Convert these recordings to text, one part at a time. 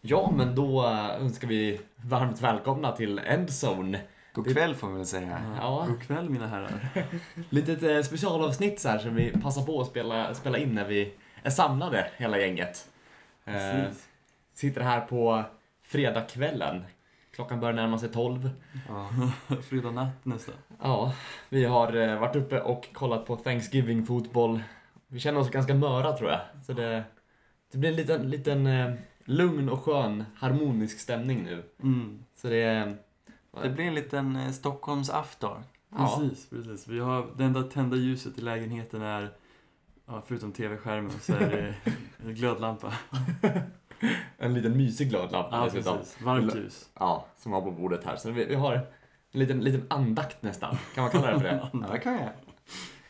Ja, men då eh, önskar vi varmt välkomna till Endzone. God kväll får vi väl säga. Ja, God kväll mina herrar. litet eh, specialavsnitt så här som vi passar på att spela, spela in när vi är samlade, hela gänget. Eh, Precis. sitter här på fredagskvällen. Klockan börjar närma sig 12. Ja. Fredag natt nästan. Ja, vi har eh, varit uppe och kollat på Thanksgiving-fotboll. Vi känner oss ganska möra tror jag. Så det, det blir en liten, liten eh, lugn och skön harmonisk stämning nu. Mm. Så det, eh, Det blir en liten eh, Stockholms afton. ja, Precis, precis. Vi har, det enda tända ljuset i lägenheten är, ja, förutom tv-skärmen, så är det en glödlampa. en liten mysig glad lampa Ja, dessutom. precis. Varmt ljus. Ja, som var på bordet här. Så vi, vi har en liten, liten andakt nästan. Kan man kalla det för det? Ja, det kan jag.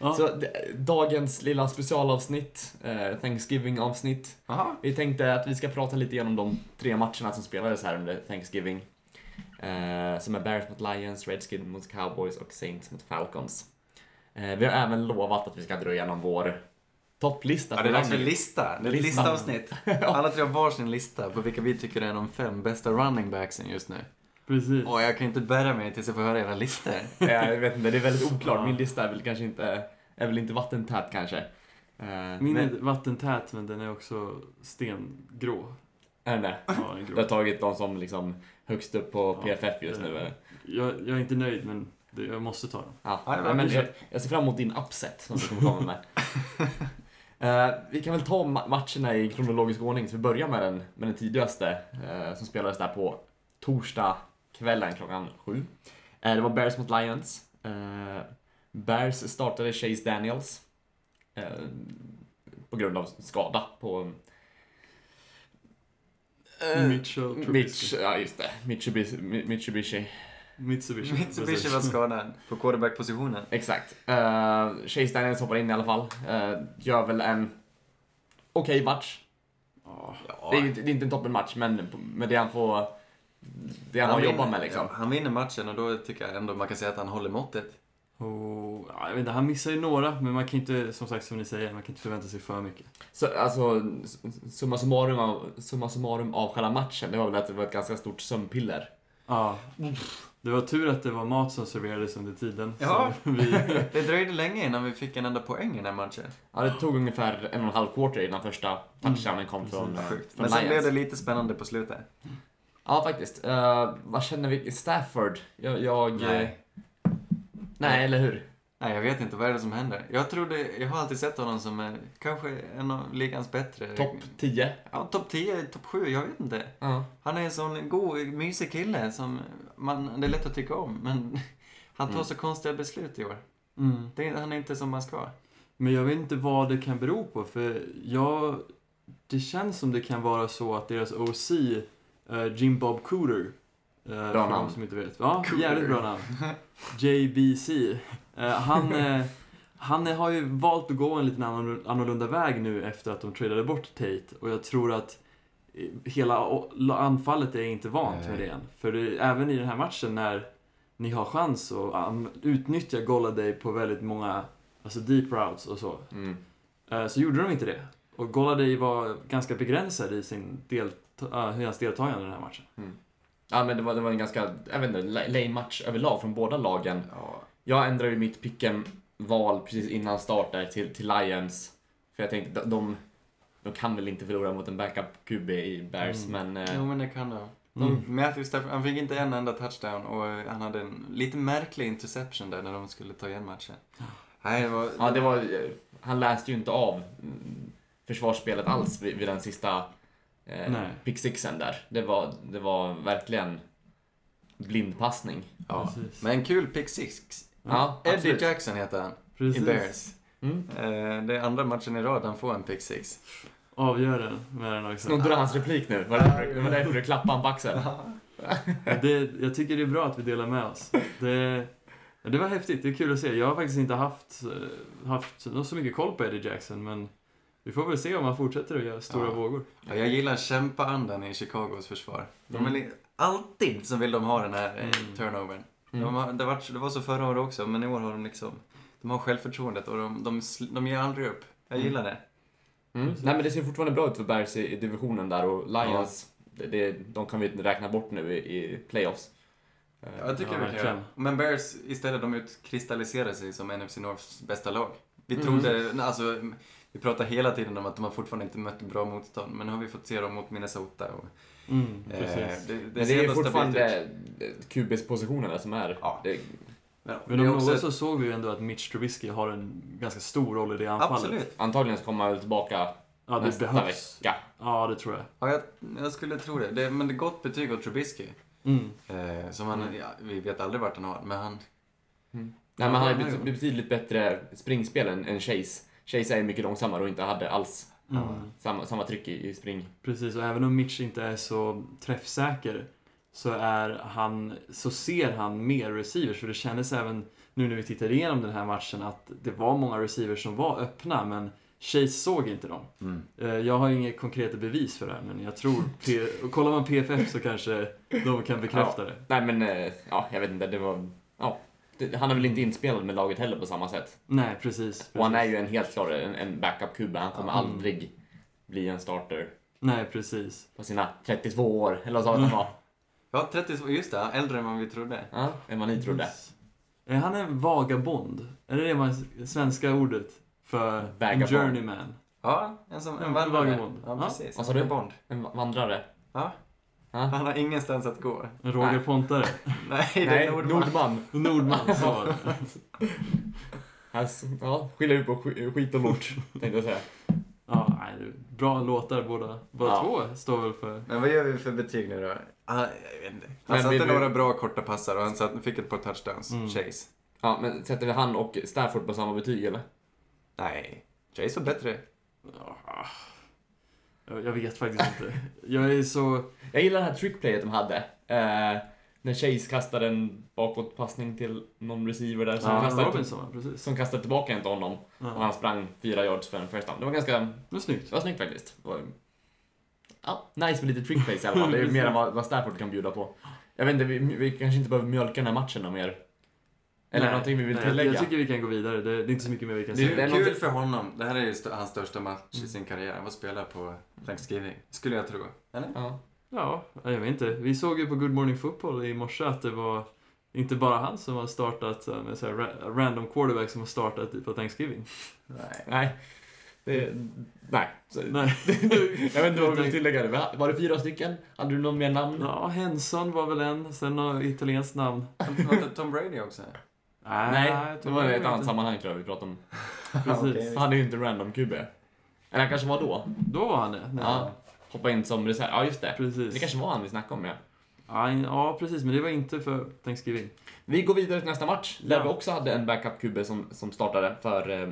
Ja. Så det, dagens lilla specialavsnitt, eh, Thanksgiving-avsnitt. Jaha. Vi tänkte att vi ska prata lite igenom de tre matcherna som spelades här under Thanksgiving. Eh, som är Bears mot Lions, Redskins mot Cowboys och Saints mot Falcons. Eh, vi har även lovat att vi ska dra igenom vår topplista. Ja, det är dags för lista. Det är ett Listan. listavsnitt. Alla tre har varsin lista på vilka vi tycker är de fem bästa running backsen just nu. Precis. Och jag kan inte bära mig tills jag får höra era listor. Eh, jag vet inte, det är väldigt oklart. Ja. Min lista är väl kanske inte, är väl inte vattentät kanske. Eh, Min men- är vattentät men den är också stengrå. Är den det? Ja, den är Du har grå. tagit de som liksom högst upp på Ja, PFF just det- nu eh. eller? Jag, jag är inte nöjd men det, jag måste ta den. Ja, Ja, det var nej, men kul. jag, jag ser fram emot din upset som du kommer komma med. Eh, vi kan väl ta ma- matcherna i kronologisk ordning, så vi börjar med den, med den tidigaste eh, som spelades där på torsdag kvällen klockan sju. Eh, det var Bears mot Lions. Eh, Bears startade Chase Daniels eh, på grund av skada på... Eh, Mitchell Mitch, Trubisky. ja just det. Mitsubishi. Mi- Mitsubishi. Mitsubishi. Mitsubishi Precis. var skadad på quarterback-positionen. Exakt. Uh, Chase Daniels hoppar in i alla fall. Eh, gör väl en okej match. Ja. Ja. Det, är, inte- det är inte en toppenmatch, men med det han får... Det han, har vinner- jobbat med liksom. ja, han vinner matchen och då tycker jag ändå man kan säga att han håller måttet. Oh, ja, jag vet inte, han missar ju några, men man kan inte, som sagt som ni säger, man kan inte förvänta sig för mycket. Så, alltså, s- summa summarum, av, summa summarum av själva matchen, det var väl att det var ett ganska stort sömnpiller. Ja. Det var tur att det var mat som serverades under tiden. Ja. Så vi, Det dröjde länge innan vi fick en enda poäng i den här matchen. Ja, det tog ungefär en och en halv quarter innan första touchdownen kom precis. från, eh, Mm. Sjukt. från Men sen blev Lions. det lite spännande på slutet. Ja, faktiskt. Eh, vad känner vi? Stafford? Jag... jag eh, nej, eller hur? Nej, jag vet inte. Vad är det som händer? Jag trodde, jag har alltid sett honom som en, kanske en av ligans bättre. Topp 10? Ja, topp 10, topp 7, jag vet inte. Ja. Han är en sån god, mysig kille som man, det är lätt att tycka om, men han tar Mm. så konstiga beslut i år. mm. Det, är- han är inte som man ska. Men jag vet inte vad det kan bero på, för jag... Det känns som det kan vara så att deras OC, eh, Jim Bob Cooter, eh, för de namn. som inte vet. Ja, Cooter. jävligt bra namn. JBC. Eh, han, eh, han har ju valt att gå en lite annorlunda- annorlunda väg nu efter att de tradade bort Tate och jag tror att eh, hela o- anfallet är inte vant med det än. För det, även i den här matchen när ni har chans att an- utnyttja Golladay på väldigt många alltså deep routes och så, Mm. eh, så gjorde de inte det. Och Golladay var ganska begränsad i sin delta- uh, deltagande i den här matchen. Ja men det var, det var en ganska, jag vet inte, la- lame match överlag från båda lagen. Ja. Jag ändrade ju mitt pick'em-val precis innan start där till, till Lions. För jag tänkte, de, de, de kan väl inte förlora mot en backup QB i Bears, Mm. men... Jo, Eh, men det kan han. Mm. Matthew Stafford, han fick inte en enda touchdown och eh, han hade en lite märklig interception där när de skulle ta igen matchen. Nej, det var... ja, det var, eh, han läste ju inte av mm, försvarsspelet alls vid, vid den sista eh, Nej. pick-sixen där. Det var, det var verkligen blindpassning. ja. Precis. Men kul pick six. Ja, Eddie absolut. Jackson heter han i Precis. Bears. Mm. Eh, Det är andra matchen i rad han får en pick six. Avgör den med den också. Snodde du hans replik nu? Var det därför- det var därför du klappade honom på axeln? Ja, Det, jag tycker det är bra att vi delar med oss. Det, ja, det var häftigt, det är kul att se. Jag har faktiskt inte haft, eh, haft så mycket koll på Eddie Jackson, men vi får väl se om han fortsätter att göra stora Ja. vågor. Ja, jag gillar kämpaandan i Chicagos försvar. De är li- alltid så vill de ha den här mm. Mm. turnovern. Mm. De har, det, var, det var så förra året också, men i år har de liksom... De har självförtroendet och de, de, sl- de ger aldrig upp. Jag gillar det. Mm. Precis. Nej men det ser fortfarande bra ut för Bears i, i divisionen där och Lions Det, det, de kan vi räkna bort nu i, i playoffs. Eh, Ja, jag tycker Ja, vi kan verkligen. göra. Men Bears istället, de utkristalliserar sig som NFC Norths bästa lag. Vi Mm. trodde, nej, alltså, vi pratar hela tiden om att de har fortfarande inte mött bra motstånd, men nu har vi fått se dem mot Minnesota. Och, Mm, eh, precis. det, Men ser det är ändå stabilt ut. fortfarande QBs-positionerna som är... Ja. Det, Men, Men det om är något också, så såg vi ju ändå att Mitch Trubisky har en ganska stor roll i det anfallet. absolut. antagligen så kommer han väl tillbaka Ja, det nästa behövs. vecka. Ja, det tror jag. Ja, jag, jag skulle tro det. det. Men det är gott betyg åt Trubisky. Mm. Eh, som han, ja, vi vet aldrig vart han har, men han... Nej, men Ja, han är den här bet- gången. betydligt bättre springspel än, än Chase. Chase är mycket långsammare och inte hade alls Mm. samma, samma tryck i, i spring. Precis, och även om Mitch inte är så träffsäker så, är han, så ser han mer receivers. För det kändes även nu när vi tittade igenom den här matchen att det var många receivers som var öppna men Chase såg inte dem. Mm. Eh, Jag har inga konkreta bevis för det här men jag tror, P- och kollar man PFF så kanske de kan bekräfta det. Nej, men eh, ja, jag vet inte. Det var... Ja. Det, han är väl inte inspelad med laget heller på samma sätt. Nej, precis. precis. Och han är ju en helt klar en, en backup-kuba. Han kommer Mm. Ja. aldrig bli en starter Nej, precis. på sina 32 år. Eller vad sa han att han Mm. var? Ja, 32, just det, äldre än vad vi trodde. Ja, än vad ni trodde. Är Eh, han en vagabond? Är det det man, svenska ordet för en Vagabond. journeyman? Ja, en som en En vandrare. vagabond. Ja, Ja. precis. Vad sa du? En Bond. En va- vandrare. Ja. Ja. Han har ingenstans att gå. En Roger Nej. Pontare? Nej, det Nej, är Nordman. Nordman. Nordman, så var det. Han s- Ja, skiljer ut på sk- skit och lort, tänkte jag säga. Ja, nej, det är bra låtar båda. Båda Ja. två står väl för... Men vad gör vi för betyg nu då? Ah, jag vet inte. Han Men satte vill vi- några bra korta passar och han satt, fick ett par touchdowns. Mm. Chase. Ja, men sätter vi han och Stafford på samma betyg eller? Nej, Chase var bättre. Ja, Jag jag vet faktiskt inte. Jag är så... Jag gillar det här trickplayet de hade. Eh, när Chase kastade en bakåtpassning till någon receiver där som, Ja, kastade, Robinson, ja, precis. som kastade tillbaka en till honom. Och Ja. han sprang fyra yards för en first down. Det var ganska Det var snyggt. det var snyggt faktiskt. Det var, ja, nice med lite trickplays i alla fall. Det är ju mer än vad, vad Stafford kan bjuda på. Jag vet inte, vi, vi kanske inte behöver mjölka den här matchen något mer. Eller Nej, någonting vi vill nej, tillägga. Jag tycker vi kan gå vidare. Det, det är inte så mycket mer vi kan Det- säga. Kul, det är kul någonting- för honom. Det här är ju st- hans största match i sin karriär. Han var spelare på Thanksgiving, skulle jag tro. Eller? Ja. Ja, jag vet inte. Vi såg ju på Good Morning Football i morse att det var inte bara han som har startat, eh, med så här, ra- random quarterback som har startat på Thanksgiving. Nej. Nej. Det, nej. Så, Nej. Jag vet inte vad vi vill tillägga. det. Var- Var det fyra stycken? Hade du någon mer namn? Ja, Henson var väl en, sen något italienskt namn. Var inte Tom Brady också? Nej, det Tom var i Brady ett annat inte. sammanhang tror jag vi pratade om. Precis. Okej. Han är ju inte random QB. Eller han kanske var då. Då var han det. Ja. Hoppa in som reserv. Ja, just det. Precis. Det kanske var han vi snackade om, ja. Ja, in- ja, precis. Men det var inte för Thanksgiving. Vi går vidare till nästa match, där Ja. vi också hade en backup-QB som, som startade för, eh,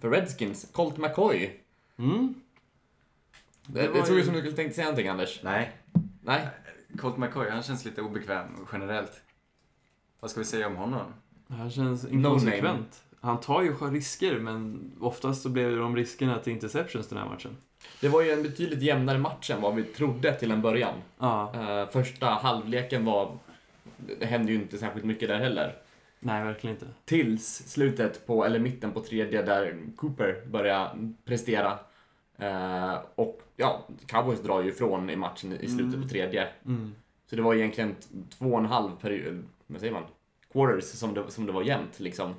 för Redskins. Colt McCoy. Mm. Det, Det det, var såg ju- ut som du skulle tänkt säga någonting, Anders. Nej. Nej? Colt McCoy, han känns lite obekväm generellt. Vad ska vi säga om honom? Det här känns name. inkonsekvent. han tar ju risker, men oftast så blev de riskerna till interceptions den här matchen. Det var ju en betydligt jämnare match än vad vi trodde till en början. Ja, Eh, första halvleken var... Det hände ju inte särskilt mycket där heller. nej, verkligen inte. Tills slutet på, eller mitten på tredje där Cooper börjar prestera. Eh, och ja, Cowboys drar ju ifrån i matchen i slutet på tredje. Mm. Så det var egentligen t- två och en halv period, vad säger man? Quarters som det, som det var jämnt liksom.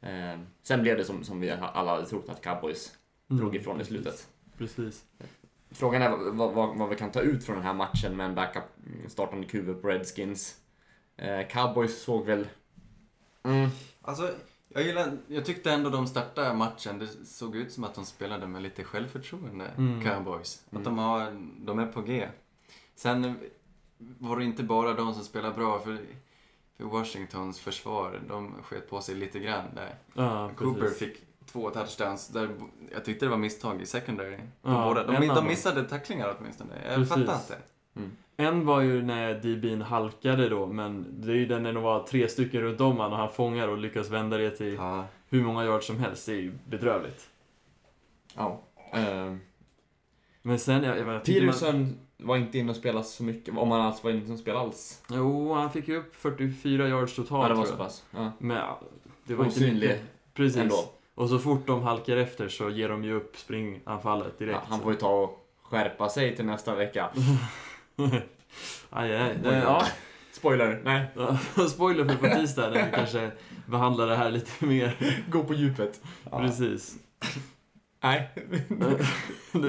Eh, sen blev det som, som vi alla hade trott att Cowboys Mm. drog ifrån i slutet. Precis. Frågan är vad, vad- vad, vad vi kan ta ut från den här matchen med en backup mm, startande QB på Redskins. Eh, Cowboys såg väl... Mm, Alltså, jag, gillar, jag tyckte ändå de startade matchen, det såg ut som att de spelade med lite självförtroende, Mm. cowboys. Att de, har, de är på G. Sen var det inte bara de som spelade bra, för, för Washingtons försvar, de sket på sig lite grann där. Ja, Cooper precis. fick två touchdowns, där bo- jag tyckte det var misstag i secondary. De, Ja, båda, en de, av dem. de missade tacklingar åtminstone, jag Precis. fattar inte. En var ju när DB'n halkade då, men det är ju den när de var tre stycken runt om han och han fångar och lyckas vända det till Ja. hur många yards som helst. Det är ju bedrövligt. ja. Eh, Men sen, jag, jag, jag tycker man- Peterson var inte inne och spelade så mycket, om han alls var inne och spelade alls. Jo, han fick ju upp 44 yards totalt Ja, det var så tror jag. pass. Ja. Men ja, det var inte Osynlig mycket. Precis. ändå. Och så fort de halkar efter så ger de ju upp springanfallet direkt. Ja, han får ju ta och skärpa sig till nästa vecka. aj, aj. Oj, oj. Eh, ja. Spoiler, nej. Ja, Spoiler för på tisdag när vi kanske behandlar det här lite mer. Gå på djupet. Precis. Nej.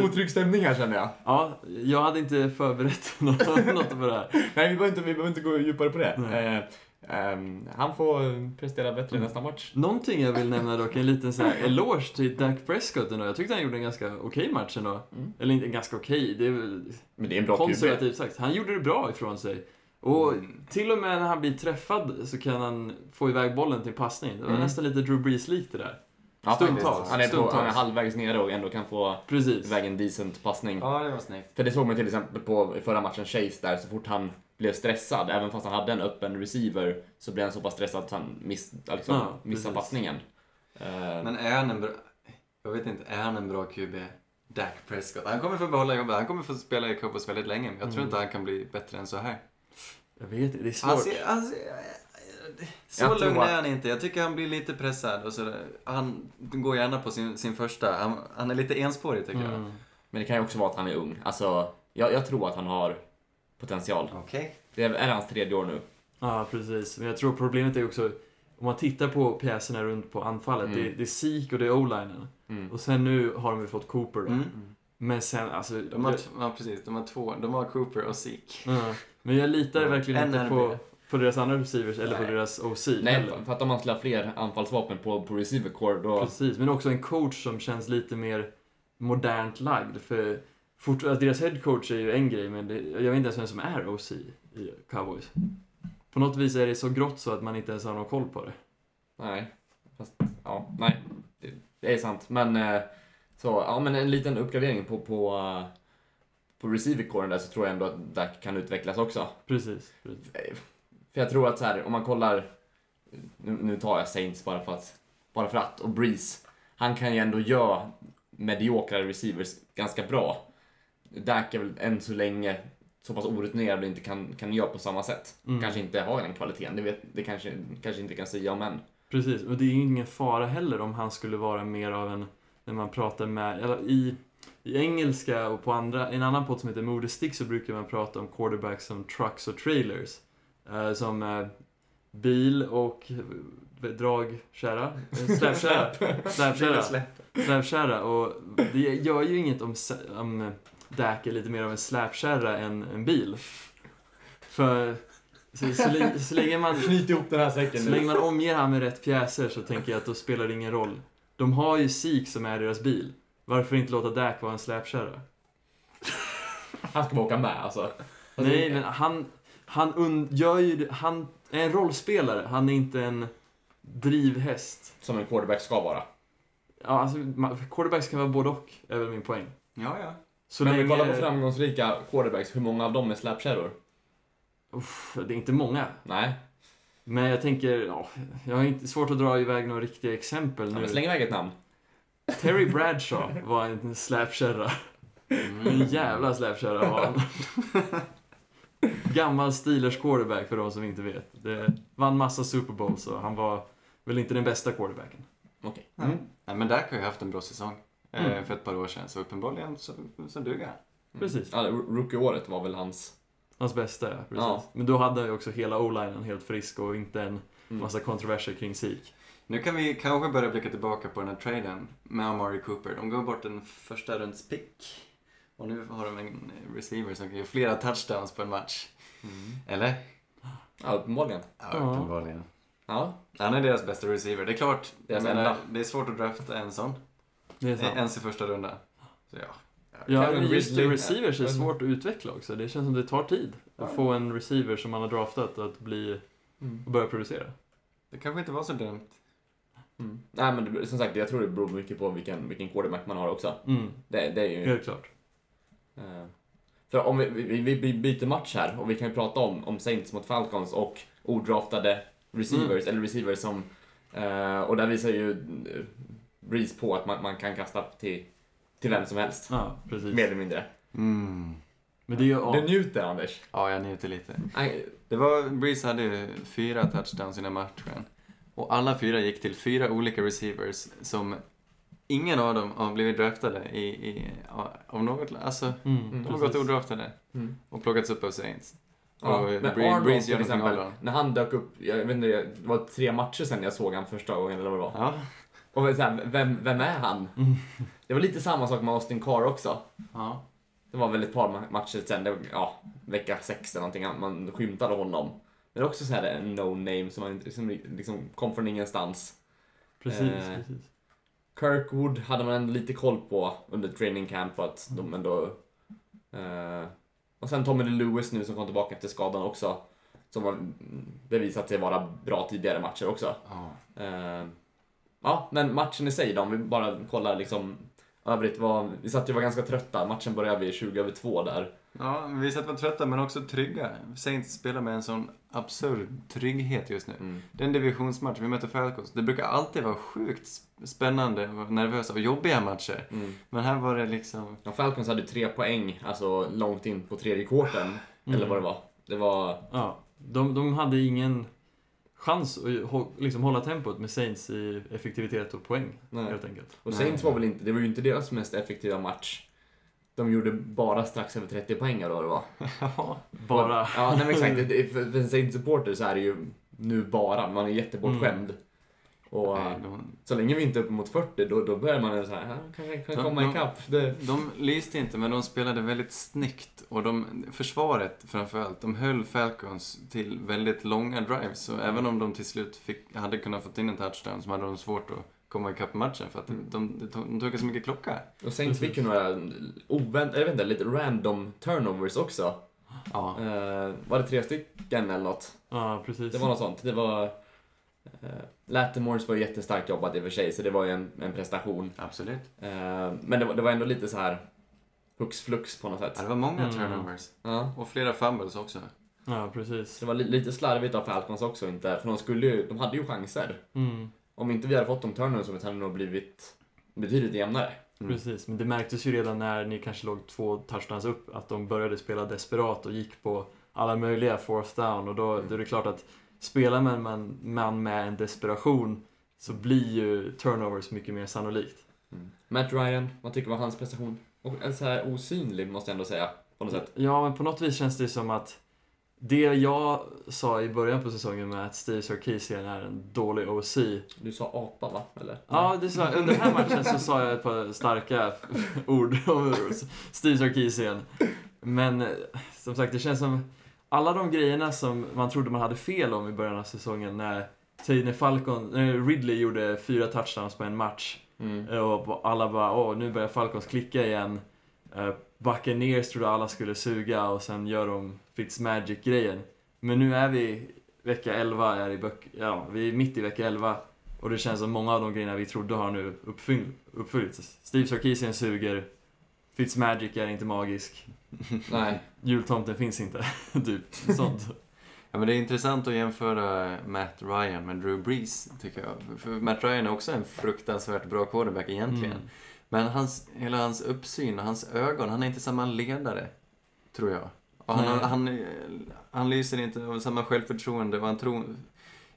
Otrygg stämning här känner jag. Ja, jag hade inte förberett något, något på det här. Nej, vi behöver inte, vi behöver inte gå djupare på det. Nej. Eh, ehm, han får prestera bättre Mm. nästa match. Någonting jag vill nämna dock, en liten så här eloge till Dak Prescott ändå. Jag tyckte han gjorde en ganska okej match ändå. Mm. Eller inte ganska okej, det är väl Men det är en bra QB. konservativt sagt. Han gjorde det bra ifrån sig. Och Mm. till och med när han blir träffad så kan han få iväg bollen till passning. Det var Mm. nästan lite Drew Brees-likt det där. Ja, Stundtals, faktiskt. Han är, på, stundtals. han är halvvägs nere och ändå kan få Precis. iväg en decent passning. Ja, det var snyggt. För det såg man till exempel på i förra matchen Chase där, så fort han blev stressad, även fast han hade en öppen receiver, så blev han så pass stressad att han miss, liksom, Ja, missade precis. passningen. Eh, Men är han en bra... Jag vet inte, är han en bra QB? Dak Prescott. Han kommer få behålla jobbet. Han kommer få spela i Cowboys väldigt länge. Men jag tror Mm. inte han kan bli bättre än så här. Jag vet inte, det är Han svårt. ser, han ser, så Jag tror lugn att- är han inte. Jag tycker han blir lite pressad. Och så, han går gärna på sin, sin första. Han, han är lite enspårig tycker jag. Mm. Men det kan ju också vara att han är ung. Alltså, jag, jag tror att han har potential. Okej. Det är, är hans tredje år nu. Ja, precis. Men jag tror problemet är också, om man tittar på pjäserna runt på anfallet, Mm. det, är- det är Zeke och det är O-linen. Mm. Och sen nu har de ju fått Cooper då. Mm. Men sen, alltså... De har, ja, precis. De har två. De har Cooper och Zeke. Ja. Men jag litar verkligen inte NRB. på, på deras andra receivers eller på Nej. deras OC Nej, heller. för- för att om man skulle ha fler anfallsvapen på, på receiver core då... Precis, men också en coach som känns lite mer modernt lagd. För fort, att deras head coach är ju en grej, men det, jag vet inte ens vem som är OC i Cowboys. På något vis är det så grått så att man inte ens har någon koll på det. Nej. Fast, ja, nej. Det, det är sant. Men, eh, så, ja men en liten uppgradering på, på, eh, på receiver coren där så tror jag ändå att Dak kan utvecklas också. Precis. precis. Eh, För jag tror att så här, om man kollar, nu, nu tar jag Saints bara för att, bara för att, och Breeze, han kan ju ändå göra mediokra receivers ganska bra. Dak är väl än så länge så pass orutinerad och inte kan, kan göra på samma sätt. Mm. Kanske inte har den kvaliteten, det, vet, det kanske, kanske inte kan säga om än. Precis, och det är ju ingen fara heller om han skulle vara mer av en, när man pratar med, eller i, i engelska och på andra, i en annan podd som heter Modestick så brukar man prata om quarterbacks som trucks och trailers. Eh, som eh, bil och eh, dragkärra, Eh, släpkärra, släpkärra, släpkärra. Och det gör ju inget om, sä- om eh, Dak är lite mer av en släpkärra än en bil. För så, så, länge, så länge man Knyt ihop den här säcken så länge man omger han med rätt pjäser så tänker jag att då spelar det ingen roll. De har ju Zeke som är deras bil. Varför inte låta Dak vara en släpkärra? Han ska bara åka med alltså. alltså Nej, men han, han un, gör ju det- Han är en rollspelare, han är inte en drivhäst. Som en quarterback ska vara. Ja, alltså, ma- quarterbacks kan vara både och, är väl min poäng. Ja, ja. Så men om vi länge... kollar på framgångsrika quarterbacks, hur många av dem är slapkärror? Uff, det är inte många. Nej. Men jag tänker, ja, jag har inte svårt att dra iväg några riktiga exempel Ja, nu. men släng iväg ett namn. Terry Bradshaw var en släpkärra. En Mm. jävla släpkärra var han. Gammal Steelers quarterback för de som inte vet. Det vann massa Super Bowls och han var väl inte den bästa quarterbacken. Okej. Mm. Nej, men Dak har ju haft en bra säsong eh, Mm. för ett par år sedan, så uppenbarligen så, så duger han. Precis. Mm. Ja, Rookie-året var väl hans... Hans bästa, ja. Precis. Ja. Men då hade han ju också hela o-linen helt frisk och inte en Mm. massa kontroverser kring Zeke. Nu kan vi kanske börja blicka tillbaka på den här traden med Amari Cooper. De gav bort en första runds pick och nu har de en receiver som kan göra flera touchdowns på en match. Eller? Mm. Ja, uppenbarligen. Mm. Ja, Ja. uppenbarligen. Ja. Han är deras bästa receiver. Det är klart, Deras jag enda. det är svårt att drafta en sån. Det är sant. Ens i första runda. Så ja. Ja, Kevin men just Ridley- receivers är Ja. svårt att utveckla också. Det känns som det tar tid Ja. att få en receiver som man har draftat att bli, att börja producera. Det kanske inte var så dumt. Mm. Nej, men det- som sagt, jag tror det beror mycket på vilken, vilken quarterback man har också. Mm, Det, det är ju... helt klart. Eh, För om vi, vi, vi by- byter match här och vi kan ju prata om, om Saints mot Falcons och odraftade receivers, eller receivers som... eh, och där visar ju eh, Breeze på att man, man kan kasta till, till vem som helst. Ja, precis. Mer eller mindre. Mm. Men det är ju... ja. Du njuter Anders. Ja, jag njuter lite. Nej, Det var, Breeze hade ju fyra touchdowns i den här matchen. Och alla fyra gick till fyra olika receivers som ingen av dem har blivit draftade i, i, av något lag. Alltså, Mm. de har precis. gått odraftade Mm. och plockats upp av Saints. Ja, och men Bre- Arnold Breeze till gör någonting av exempel, dem. när han dök upp, jag vet inte, det var tre matcher sen jag såg han första gången eller vad det var. Ja. Och så här, vem, vem är han? Mm. Det var lite samma sak med Austin Carr också. Ja. Det var väl ett par ma- matcher sen, det var, ja, vecka sex eller någonting, man skymtade honom. Men det är också så här en no-name som, man inte- som liksom kom från ingenstans. Precis, Eh. precis. Kirkwood hade man ändå lite koll på under training camp att de ändå... Eh, och sen Tommy Lee Lewis nu som kom tillbaka efter skadan också. Som har bevisat sig vara bra tidigare matcher också. Ja. Eh, ja, men matchen i sig då, om vi bara kollar liksom övrigt var, vi satt ju och var ganska trötta, matchen började vid 20 över 2 där. Ja, vi satt var trötta men också trygga. Saints spelar med en sån absurd trygghet just nu. Mm. Det är en divisionsmatch, vi möter Falcons. Det brukar alltid vara sjukt sp- spännande, och nervösa och jobbiga matcher. Mm. Men här var det liksom... Ja, Falcons hade ju tre poäng, alltså långt in på tredje kvarten, eller vad det var. Det var... Ja, de, de hade ingen chans att ju- hå- liksom hålla tempot med Saints i effektivitet och poäng, Nej. helt enkelt. Och Nej. Saints var väl inte, det var ju inte deras mest effektiva match. De gjorde bara strax över 30 poäng eller vad det var. Ja. Bara... Ja, nej men exakt. Det- det- För för en Saints-supporter så är det ju nu bara, man är jättebortskämd. Och eh, Nej, de, så länge vi inte är uppe mot 40 då, då börjar man så här, "Ah, kanske kan Ja, komma ja. ikapp. Det... de lyste inte, men de spelade väldigt snyggt. Och de, försvaret framförallt, de höll Falcons till väldigt långa drives. Så även om de till slut fick, hade kunnat fått in en touchdown så hade de svårt att komma ikapp matchen för att Mm. de, de, tog- de tog så mycket klocka. Och Saints fick ju några ovänt, eller vänta, lite random turnovers också. Ja. Eh, var det tre stycken eller något? Ja, precis. Det var något sånt. Det var... Uh, Latimores var ju jättestarkt jobbat i och för sig, så det var ju en, en prestation. Absolut. Eh, men det var, det var ändå lite så här hux flux på något sätt. Ja, det var många Mm. turnovers. Ja. Och flera fumbles också. Ja, precis. Så det var li, lite slarvigt av Falcons också inte, för de skulle ju, de hade ju chanser. Mm, Om inte vi hade fått de turnovers så hade det nog blivit betydligt jämnare. Mm. precis. Men det märktes ju redan när ni kanske låg två touchdowns upp att de började spela desperat och gick på alla möjliga fourth down och Mm. då, då är det klart att spelar man, man, man med en desperation så blir ju turnovers mycket mer sannolikt. Mm. Matt Ryan, vad tycker du om hans prestation? Och en så här osynlig måste jag ändå säga, på något sätt. Ja, men på något vis känns det som att det jag sa i början på säsongen med att Steve Sarkisian är en dålig OC. Du sa apa va? Eller? Ja, det sa, under den här matchen så sa jag ett par starka ord om Steve Sarkisian. Men eh, som sagt, det känns som alla de grejerna som man trodde man hade fel om i början av säsongen när säg när Falcon, eh, Ridley gjorde fyra touchdowns på en match Mm. Eh, och alla bara åh, nu börjar Falcons klicka igen. Eh, Buccaneers trodde alla skulle suga och sen gör de Fitzmagic-grejen. Men nu är vi vecka 11, är i böck, ja, vi är mitt i vecka 11 och det känns som många av de grejerna vi trodde har nu uppfyll- uppfyllts. Steve Sarkisian suger, Fitzmagic är inte magisk, Nej. jultomten finns inte, typ. Sånt. Ja, men det är intressant att jämföra Matt Ryan med Drew Brees, tycker jag. För Matt Ryan är också en fruktansvärt bra quarterback egentligen. Mm. Men hans, hela hans uppsyn och hans ögon, han är inte samma ledare, tror jag. Och han, Nej. han, eh, han lyser inte av samma självförtroende och han tror...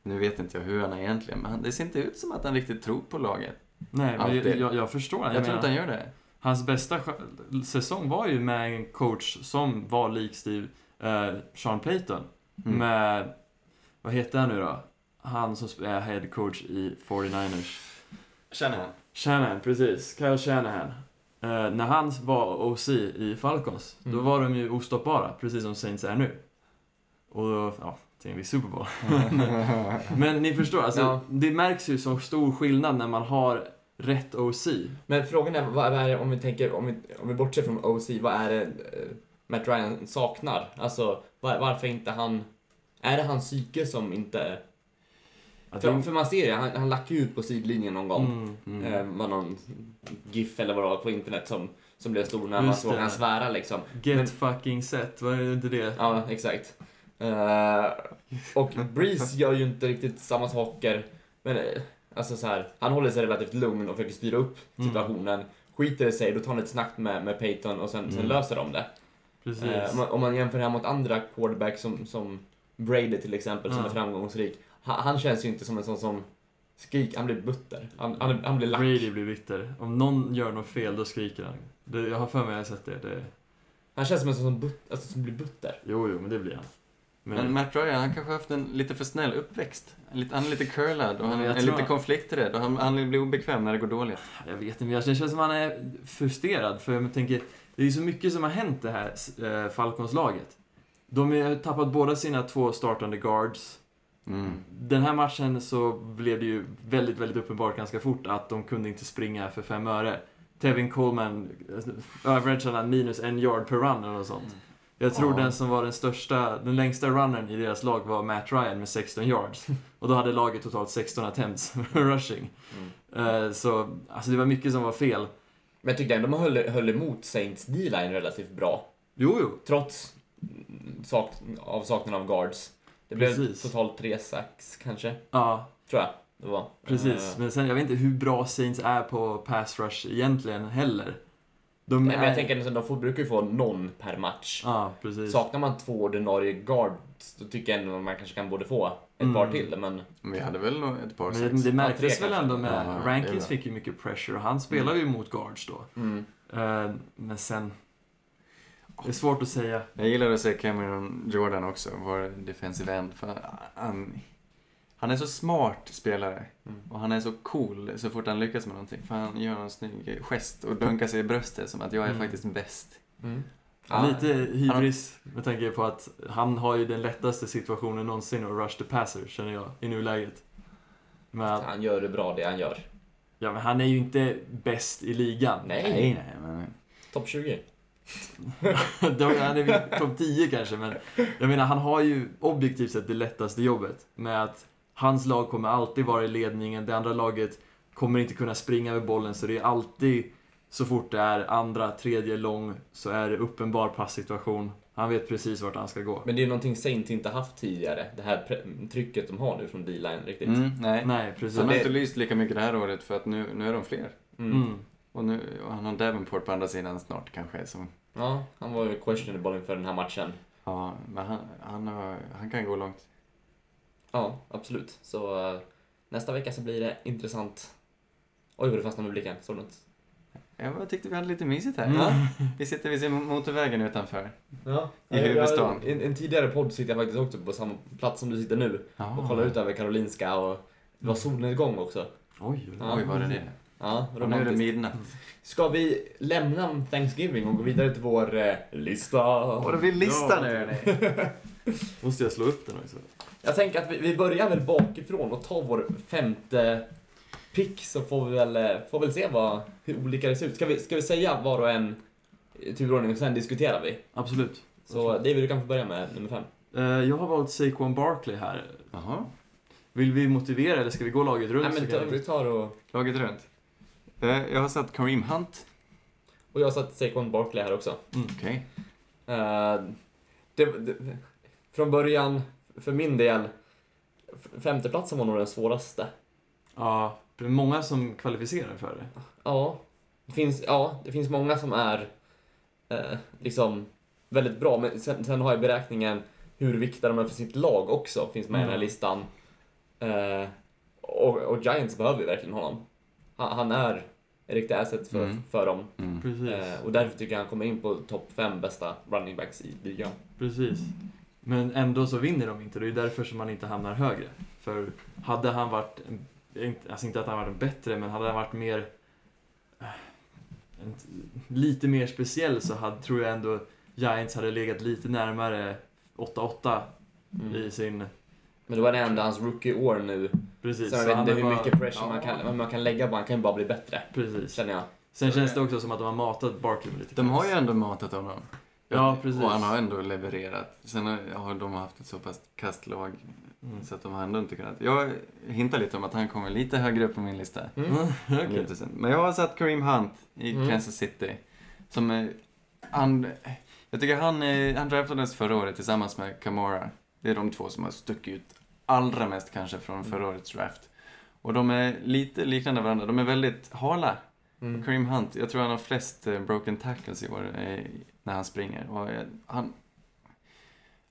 Nu vet inte jag hur han är egentligen, men han, det ser inte ut som att han riktigt tror på laget. Nej, men jag, Alltid. jag, jag förstår. Jag, tror menar- inte han gör det. Hans bästa sch- säsong var ju med en coach som var lik Steve, eh, Sean Payton. Mm. Med, vad heter han nu då? Han som sp- är head coach i 49ers. Känner han? Shanahan, precis. Kyle Shanahan. Eh, när han var OC i Falcons, då Mm. var de ju ostoppbara, precis som Saints är nu. Och då, ja, till en viss Super Bowl. Men ni förstår, alltså, Ja. det märks ju så stor skillnad när man har rätt OC. Men frågan är, vad är det, om vi tänker, om vi, om vi bortser från OC, vad är det eh, Matt Ryan saknar? Alltså, var, varför inte han... Är det hans psyke som inte... Att För, det- för man ser det, han, han lackar ju ut på sidlinjen någon gång. Mm. Mm. Mm. Eh, var någon GIF eller vad det var på internet som, som blev stor när man Just såg det. han svära liksom. Get Men- fucking set, var det inte det? Ja, exakt. Eh, och Breeze gör ju inte riktigt samma saker. Men eh, alltså så här, han håller sig relativt lugn och försöker styra upp Mm. situationen. Skiter det sig, då tar han ett snack med, med Peyton och sen, sen Mm. löser de det. Precis. Eh, om man- om man jämför det här mot andra quarterbacks som, som Brady till exempel, som Ja. är framgångsrik. Han, han känns ju inte som en sån som Skrik, han blir butter. Han, han, han blir lack. Brady blir bitter. Om någon gör något fel, då skriker han. Det, jag har för mig att jag har sett det. det. Han känns som en sån som, but, alltså, som blir butter. Jo, jo, men det blir han. Men, Men Matt Ryan, han kanske har haft en lite för snäll uppväxt. Han är lite- han är lite curlad och han Ja, jag är tror lite han- konflikträdd och han, han blir obekväm när det går dåligt. jag vet inte, men jag- det känns som att han är frustrerad. För jag tänker, det är ju så mycket som har hänt det här eh, Falcons-laget. De har tappat båda sina två startande guards. Mm. Den här matchen så blev det ju väldigt, väldigt uppenbart ganska fort att de kunde inte springa för fem öre. Tevin Coleman eh, averageade han minus en yard per run eller något sånt. Jag tror Ja. den som var den största, den längsta runnern i deras lag var Matt Ryan med 16 yards. Och då hade laget totalt 16 attempts rushing. Mm. Eh, Så alltså det var mycket som var fel. Men jag tyckte ändå de höll, höll emot Saints D-line relativt bra. Jo, jo. Trots mm, sak, avsaknaden av guards. Det blev Precis. totalt tre sacks kanske, Ja, tror jag det var. precis. Eh, Men sen, jag vet inte hur bra Saints är på pass rush egentligen heller. De nej, men är- jag tänker att de får, brukar ju få någon per match. Ja, precis. Saknar man två ordinarie guards, då tycker jag ändå att man kanske kan både få ett Mm. par till. Men Vi hade väl nog ett par Men sex. det Ja, märktes tre väl ändå kanske. med... Ja, det är Rankins bra. fick ju mycket pressure och han spelar ju mot guards då. mm, Eh, Men sen... Det är svårt att säga. Jag gillar att se Cameron Jordan också, vår defensive end. För han, han är så smart spelare Mm. och han är så cool så fort han lyckas med någonting. För han gör en snygg gest och dunkar sig i bröstet som att jag är Mm. faktiskt bäst. mm. Lite hybris med tanke på att han har ju den lättaste situationen någonsin att rush the passer, känner jag, i nuläget. Men, att- Han gör det bra det han gör. ja, men han är ju inte bäst i ligan. Nej. nej, men... Topp 20. Då är han är väl topp 10 kanske, men jag menar han har ju objektivt sett det lättaste jobbet. Med att hans lag kommer alltid vara i ledningen, det andra laget kommer inte kunna springa med bollen, så det är alltid så fort det är andra, tredje lång så är det uppenbar passsituation. Han vet precis vart han ska gå. Men det är någonting Saints inte haft tidigare. Det här pre- trycket de har nu från D-line riktigt. Mm, nej. Nej, precis. Han har det- inte lyst lika mycket det här året för att nu, nu är de fler. Mm. Mm. Och, nu, och han har Davenport på andra sidan snart kanske. Som, Ja, han var ju questionable inför den här matchen. ja, men han, han, har, han kan gå långt. Ja, absolut. Så eh, nästa vecka så blir det intressant. Oj, vad du fastnade med blicken. Såg du något? Jag bara tyckte vi hade lite mysigt här. Ja. Vi sitter vid motorvägen utanför. Ja, I huvudstaden. I en, en tidigare podd sitter jag faktiskt också på samma plats som du sitter nu och Ah. kollar ut över Karolinska och det var solnedgång också. Oj, oj. Oj, var det det? Ja, Och nu är det romantiskt. midnatt. Ska vi lämna Thanksgiving och gå vidare till vår eh, lista? Och det blir lista nu hörni. Måste jag slå upp den också? Jag tänker att vi, vi börjar väl bakifrån och tar vår femte pick så får vi väl, eh, får väl se vad, hur olika det ser ut. Ska vi, ska vi säga var och en i turordning och sen diskuterar vi? Absolut. Så David, du kan få börja med nummer fem. Eh, Jag har valt Saquon Barkley här. Jaha, Vill vi motivera eller ska vi gå laget runt? Nej men så kan ta- vi- vi tar och... laget runt. Eh, Jag har satt Kareem Hunt. Och jag satt Saquon Barkley här också. Mm. Okej. Eh, det, det, från början, för min del, f- femteplatsen var nog den svåraste. Ja, det är många som kvalificerar för Mm. det. Ja, det finns, ja, det finns många som är eh, liksom väldigt bra, men sen, sen har jag beräkningen hur viktiga de är för sitt lag också, finns med i den här Mm. listan. Eh, och, och Giants behöver ju verkligen honom. Han, han är ett riktigt asset för, Mm. för dem. Mm. Precis. Eh, och därför tycker jag han kommer in på topp fem bästa running backs i ligan. Precis. Men ändå så vinner de inte. Det är ju därför som man inte hamnar högre. För hade han varit, en- inte- alltså inte att han varit bättre, men hade han varit mer eh, en- lite mer speciell så hade, tror jag ändå Giants hade legat lite närmare 8-8 Mm. i sin... Men det var det enda hans rookie-år nu. Precis. Så jag Så vet han inte har hur bara- mycket pressure ja, man, kan, men man kan lägga på Han kan ju bara bli bättre, Precis. känner jag. Sen känns det också som att de har matat Barkley med lite De har ju press. ändå matat honom. Ja, precis. Och han har ändå levererat. Sen har- har de haft ett så pass kasst lag Mm. så att de har ändå inte kunnat. Jag hintar lite om att han kommer lite högre upp på min lista. Mm. Mm, okej. Det är intressant. Men jag har satt Kareem Hunt i Mm. Kansas City. Som eh, han, jag tycker han, eh, han draftades förra året tillsammans med Kamara. Det är de två som har stuckit ut allra mest kanske från förra årets draft. Och de är lite liknande varandra. De är väldigt hala. Mm. Kareem Hunt, jag tror han har flest eh, broken tackles i år eh, när han springer. Och eh, han,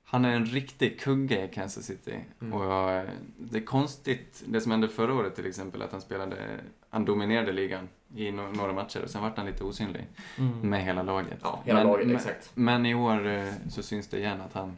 Han är en riktig kugge i Kansas City. Mm. Och jag, det är konstigt, det som hände förra året till exempel, att han spelade, han dominerade ligan i no- några matcher och sen vart han lite osynlig Mm. med hela laget. Ja, hela men, laget, men, exakt. Men i år eh, så syns det igen att han,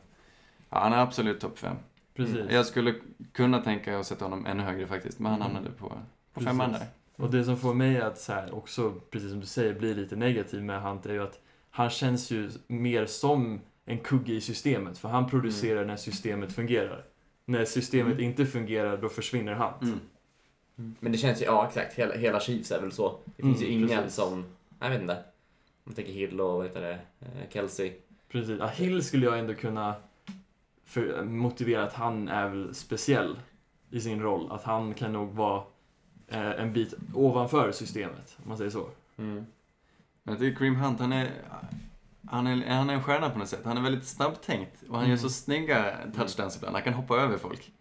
ja, han är absolut topp fem. Precis. Jag skulle kunna tänka mig att sätta honom ännu högre faktiskt, men han Mm. hamnade på, på Precis. femman där. Och det som får mig att så här, också, precis som du säger, bli lite negativ med Hunt är ju att han känns ju mer som en kugge i systemet. För han producerar när systemet fungerar. När systemet Mm. inte fungerar, då försvinner han. Mm. Men det känns ju, ja exakt, hela, hela Chiefs är väl så. Det finns Mm, ju ingen precis. som, jag vet inte. Om man tänker Hill och vad heter det, eh, Kelsey. Precis. Ja, Hill skulle jag ändå kunna för, motivera att han är väl speciell i sin roll. Att han kan nog vara eh, en bit ovanför systemet, om man säger så. Mm. Men jag tycker Cream Hunt, han är, han, är, han är en stjärna på något sätt. Han är väldigt snabbtänkt och han Mm. gör så snygga touchdowns ibland. Han kan hoppa över folk,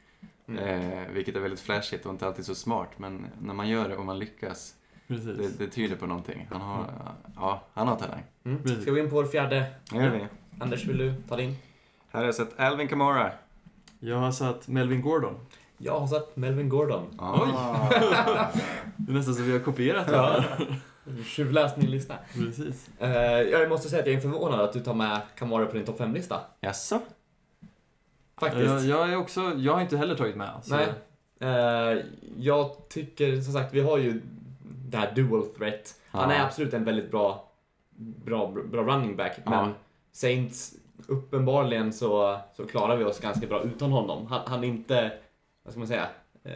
Mm. eh, vilket är väldigt flashigt och inte alltid så smart. Men när man gör det och man lyckas, Precis. det, det tyder på någonting. Han har, ja, han har talang. Mm. Ska vi in på vår fjärde? Mm. Det gör vi. Anders, vill du ta din? Här har jag sett Alvin Kamara. Jag har satt Melvin Gordon. Jag har satt Melvin Gordon. Ah. Det är nästan så vi har kopierat Ja. varandra. Tjuvläst min lista. Precis. Eh, jag måste säga att jag är förvånad att du tar med Kamara på din topp 5-lista. Jaså? Faktiskt. Jag, jag, är också, jag har inte heller tagit med han, så- Nej. Eh, jag tycker som sagt, vi har ju det här dual threat. Han Ja. är absolut en väldigt bra, bra, bra running back. Ja. Men Saints, uppenbarligen så, så klarar vi oss ganska bra utan honom. Han, han är inte, vad ska man säga, eh,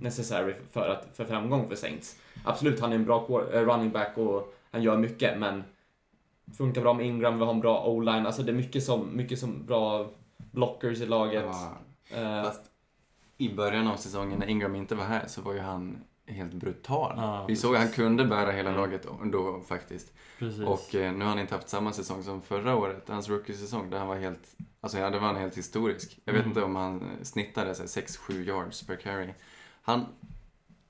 necessary för, att, för framgång för Saints. Absolut, han är en bra quar- eh, running back och han gör mycket, men funkar bra med Ingram, vi har en bra o-line. Alltså det är mycket som, mycket som bra blockers i laget. Ah. Eh, Fast i början av säsongen när Ingram inte var här så var ju han helt brutal. Ja, Vi precis. såg att han kunde bära hela Mm. laget då faktiskt. Precis. Och eh, nu har han inte haft samma säsong som förra året, hans rookie-säsong, där han var helt, alltså ja, det var han helt historisk. Jag vet Mm. inte om han eh, snittade så här 6-7 yards per carry. Han,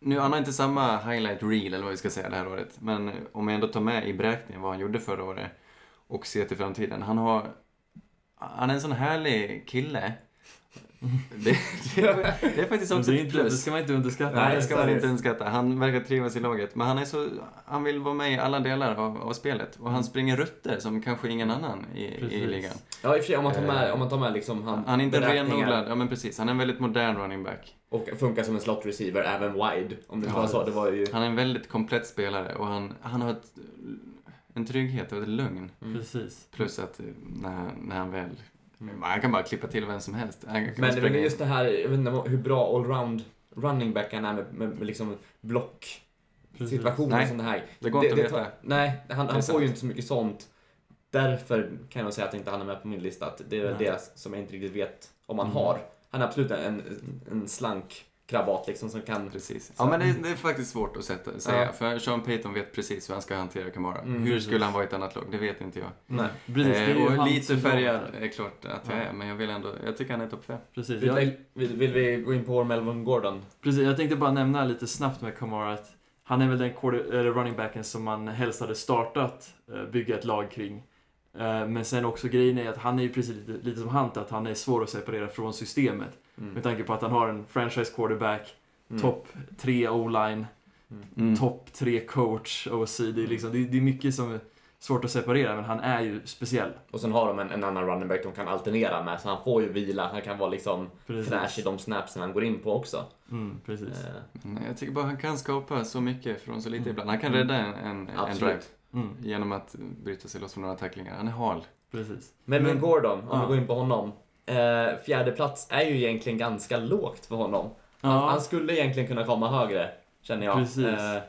nu, han har inte samma highlight reel eller vad vi ska säga det här året, men eh, om jag ändå tar med i beräkningen vad han gjorde förra året och ser till framtiden. Han har, han är en sån härlig kille. Det, det, är- det är faktiskt Men också det, är ett inte, det plus. ska man inte underskatta. Nej, det ska man seriöst. inte underskatta. Han verkar trivas i laget. Men han, är så, han vill vara med i alla delar av, av spelet. Och han springer rutter som kanske ingen annan i, i Precis. ligan. Ja i och för sig om man tar med, Eh, om man tar med liksom han, Han, är inte beräkningar renodlad. Ja, men precis. Han är en väldigt modern running back. Och funkar som en slot receiver även wide. Om det Ja. var så. Det var ju... Han är en väldigt komplett spelare och han, han har ett, en trygghet och ett lugn. Mm. Precis. Plus att eh, när, han- när han väl... Mm. Han kan bara klippa till vem som helst. Han Men kan det är Liksom springa väl in. just det här, jag vet inte vad- hur bra allround running back han är med, med, med liksom block Precis. situationer Nej. och sånt här. Det går inte att tar- veta. Nej, han, är han sant. får ju inte så mycket sånt. Därför kan jag säga att inte han är med på min lista. Att det är väl Nej. det som jag inte riktigt vet om han Mm. har. Han är absolut en, en slank kravat liksom som kan... Precis. Så- Ja, men det, är- det är faktiskt svårt att sätta, säga. Ja. För Sean Payton vet precis hur han ska hantera Kamara. Mm, hur precis. skulle han vara i ett annat lag? Det vet inte jag. Nej. Precis, det är ju eh, och hans lite syndrom. färgad är klart att jag Ja. är, men jag vill ändå, jag tycker han är topp fem. Precis. Vill, Jag, vill, vill vi gå in på Melvin Gordon? precis. Jag tänkte bara nämna lite snabbt med Kamara att han är väl den quarter, eller running backen som man helst hade startat eh, bygga ett lag kring. Eh, Men sen också grejen är att han är ju precis lite, lite som Hunt, att han är svår att separera från systemet. Mm. Med tanke på att han har en franchise quarterback, Mm. topp 3 o-line, Mm. topp tre coach OC. Det är, liksom, det, det är mycket som är svårt att separera, men han är ju speciell. Och sen har de en, en annan running back de kan alternera med, så han får ju vila. Han kan vara liksom Precis. fräsch i de snapsen han går in på också. Mm, precis. Eh, Men jag tycker bara han kan skapa så mycket från så lite Mm. ibland. Han kan rädda en, en, en Absolut. drive Mm, genom att bryta sig loss från några tacklingar. Han är hal. precis. Men, men Men- Gordon, om Ja. vi går in på honom. Eh, fjärde plats är ju egentligen ganska lågt för honom. Han, han Ja, skulle egentligen kunna komma högre, känner jag. Precis. Eh,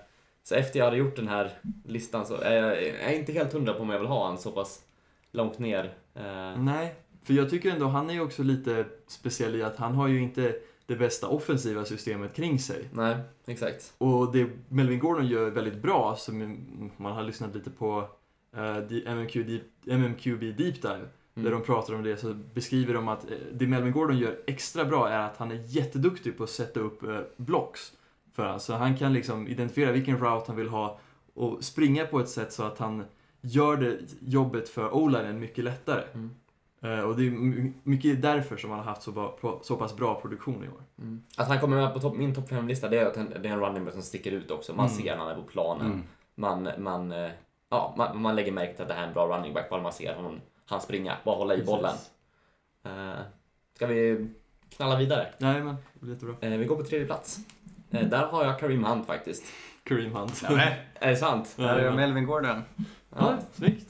så efter jag hade gjort den här listan så är jag, jag är inte helt hundra på om jag vill ha han så pass långt ner. Eh, nej. För jag tycker ändå, han är ju också lite speciell i att han har ju inte det bästa offensiva systemet kring sig. nej, exakt. Och det Melvin Gordon gör väldigt bra, som man har lyssnat lite på eh, D- MMQ deep, MMQB Deep Dive, där de pratar om det så beskriver de att eh, det Melvin Gordon gör extra bra är att han är jätteduktig på att sätta upp eh, blocks. För han. Så han kan liksom identifiera vilken route han vill ha och springa på ett sätt så att han gör det jobbet för o mycket lättare. Mm. Eh, Och det är my- mycket därför som han har haft så, ba- så pass bra produktion i år. Mm. Att han kommer med på topp, min topp 5-lista, det är att han- det är en running back som sticker ut också. Man Mm. ser när han är på planen. Mm. Man, man, eh, ja, man, man lägger märke till att det här är en bra running back bara man ser honom, han springa. Bara hålla i bollen. Precis. Eh, ska vi knalla vidare? Nej men, det blir jättebra. Eh, vi går på tredje plats. Eh, där har jag Kareem Hunt faktiskt. Kareem Hunt. Nej, Är det sant? där är jag Melvin Gordon. Ja. Ja, snyggt.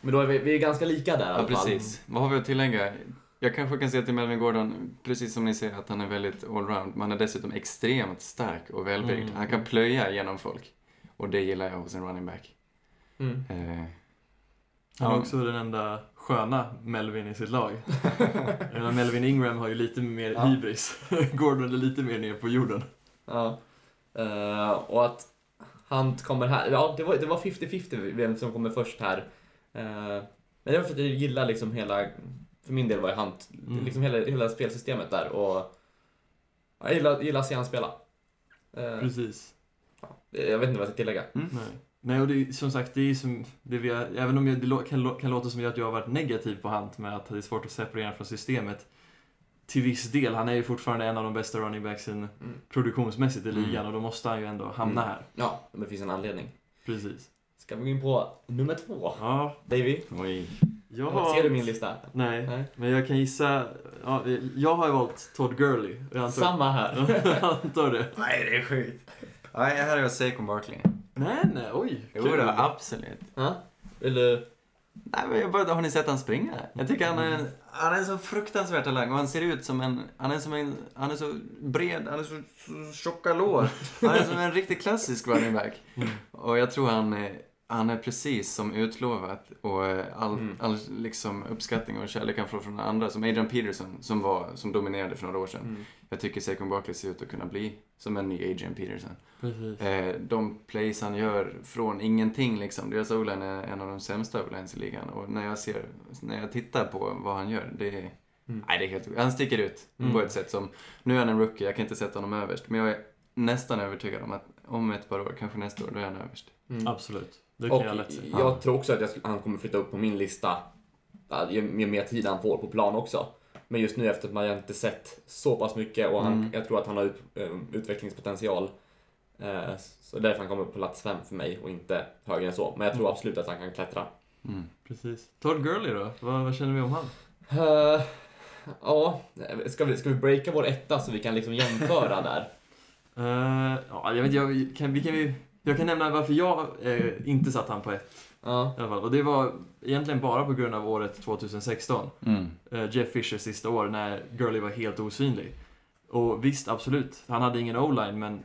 Men då är vi, vi är ganska lika där i Ja, alla fall. precis. Vad har vi att tillägga? Jag kanske kan säga till Melvin Gordon, precis som ni ser, att han är väldigt allround. Men han är dessutom extremt stark och välbyggd. Mm. Han kan plöja genom folk. Och det gillar jag hos en running back. Mm. Eh, Han är Ja. också den enda sköna Melvin i sitt lag. Jag menar, Melvin Ingram har ju lite mer Ja. hybris. Gordon är lite mer ner på jorden. Ja. Eh, och att Hunt kommer här. Ja, det var, det var 50-50 vem som kommer först här. Eh, men det var för att jag gillar liksom hela, för min del var ju Hunt, Mm. liksom hela, hela spelsystemet där och jag gillar, gillar att se han spela. Eh, Precis. jag vet inte vad jag ska tillägga. mm. Nej. Nej, och det är, som sagt, det är som det vi har, även om jag, det lå- kan, lå- kan låta som att jag har varit negativ på Hunt med att det är svårt att separera från systemet. Till viss del, han är ju fortfarande en av de bästa running backsen Mm. produktionsmässigt i Mm. ligan och då måste han ju ändå hamna Mm. här. Ja, men det finns en anledning. Precis. Ska vi gå in på nummer två? Ja, Davy, Oj. jag har... ser du min lista? Nej, Nej. men jag kan gissa. Ja, jag har ju valt Todd Gurley. Jag antar, Samma här. jag antar det. Nej, det är skit. Nej, här har jag Saquon Barkley. Nej, nej, oj. Jo kul. då, absolut. Ja? Eller, Nej, men jag bara, har ni sett han springa? Jag tycker han är en, han är en så fruktansvärd talang och han ser ut som en... Han är, som en, han är så bred, han är så, så tjocka lår. Han är som en riktigt klassisk running back. Mm. Och jag tror han är, han är precis som utlovat och eh, all, Mm. all liksom uppskattning och kärlek han får från andra, som Adrian Peterson som, var, som dominerade för några år sedan. mm. Jag tycker Saquon Barkley ser ut att kunna bli som en ny Adrian Peterson. Precis. Eh, de plays han gör från ingenting liksom. Deras O-line är en av de sämsta O-lines i ligan. Och när jag, ser, när jag tittar på vad han gör, det är... Mm. Nej, det är helt Han sticker ut på Mm. ett sätt som... Nu är han en rookie, jag kan inte sätta honom överst. Men jag är nästan övertygad om att om ett par år, kanske nästa år, då är han överst. Mm. Absolut. Det kan Och jag lätt säga. jag Ja. tror också att jag, skulle- han kommer flytta upp på min lista ja, ju ju mer tid han får på plan också. Men just nu efter att man inte sett så pass mycket och han, Mm. jag tror att han har ut, eh, utvecklingspotential. Eh, Så därför han kommer på plats fem för mig och inte högre än så. Men jag tror Mm. absolut att han kan klättra. Mm. Precis. Todd Gurley då? Vad, vad känner vi om han? Eh, Ja, ska vi, ska vi breaka vår etta så vi kan liksom jämföra där? Eh, ja, jag vet inte, jag kan, vi kan ju... Jag kan nämna varför jag eh, inte satt han på ett Ja, i alla fall. Och det var egentligen bara på grund av året 2016. Mm. eh, Jeff Fishers sista år när Gurley var helt osynlig. Och visst, absolut, han hade ingen o-line, men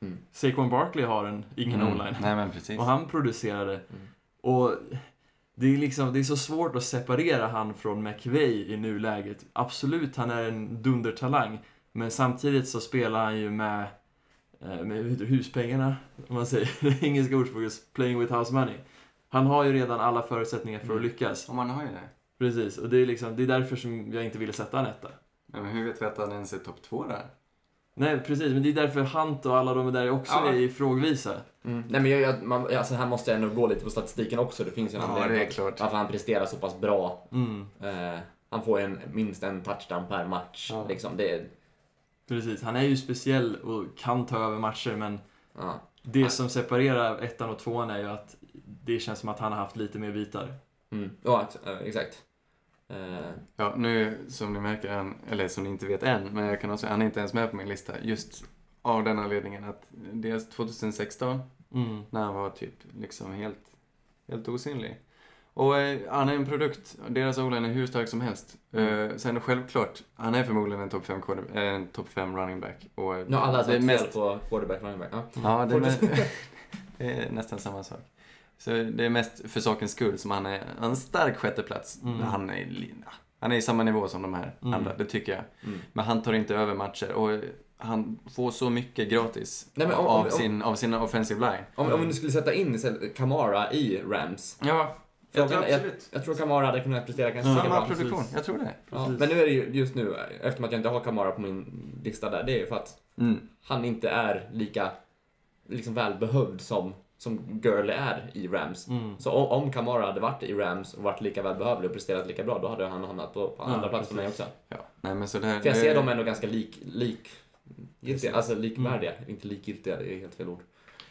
Mm. Saquon Barkley har en, ingen Mm. o-line. Nej, men precis. Och han producerade. Mm. Och det är, liksom, det är så svårt att separera han från McVeigh i nuläget. Absolut, han är en dundertalang. Men samtidigt så spelar han ju med, eh, med huspengarna, om man säger. Det engelska ordspråket, playing with house money. Han har ju redan alla förutsättningar för att Mm. lyckas. Och man har ju det. Precis, och det är, liksom, det är därför som jag inte ville sätta han etta. Men hur vet vi att han ens är topp två där? Nej, precis, men det är därför Hunt och alla de där också Ja. är i frågvisa. Mm. Nej men jag, jag, man, alltså här måste jag nog gå lite på statistiken också. Det finns ju en anledning till klart. varför han presterar så pass bra Mm, Eh, han får en, minst en touchdown per match. Ja. Liksom. Det, är- precis, han är ju speciell och kan ta över matcher, men ja. det som separerar ettan och tvåan är ju att det känns som att han har haft lite mer bitar. Mm. ja, ex- eh, exakt. Eh, Ja, nu som ni märker, är han, eller som ni inte vet än, men jag kan också säga, han är inte ens med på min lista. Just av den anledningen att dels 2016, Mm. när han var typ liksom helt, helt osynlig. Och eh, han är en produkt, deras O-line är hur stark som helst. Eh, sen självklart, han är förmodligen en topp 5 quarter- eh, en top fem running back. Och nu har alla det är sagt mest fel på quarterback running back. Ja. Ja, det är, Fortsätt. nä- det är nästan samma sak. Så det är mest för sakens skull som han är en stark sjätteplats. Mm. Han, är, li- han är i samma nivå som de här Mm. andra, det tycker jag. Mm. Men han tar inte över matcher och han får så mycket gratis Nej, men om- av, om- sin, av sin offensive line. Om, om du skulle sätta in istället Kamara i Rams. Ja, Frågan jag tror är- jag, absolut. jag tror Kamara hade kunnat prestera ganska lika Samma bra. produktion, precis. jag tror det. Ja, Precis. men nu är det ju just nu, eh, eftersom att jag inte har Kamara på min lista där, det är ju för att Mm. han inte är lika liksom välbehövd som som Gurley är i Rams. Mm. Så o- om Kamara hade varit i Rams och varit lika välbehövlig och presterat lika bra, då hade han hamnat på, på Ja, andra plats för mig precis. också. Ja. Nej, men så det här, För jag ser det- dem ändå ganska lik, lik giltiga, alltså likvärdiga. Inte likgiltiga, det är helt fel ord.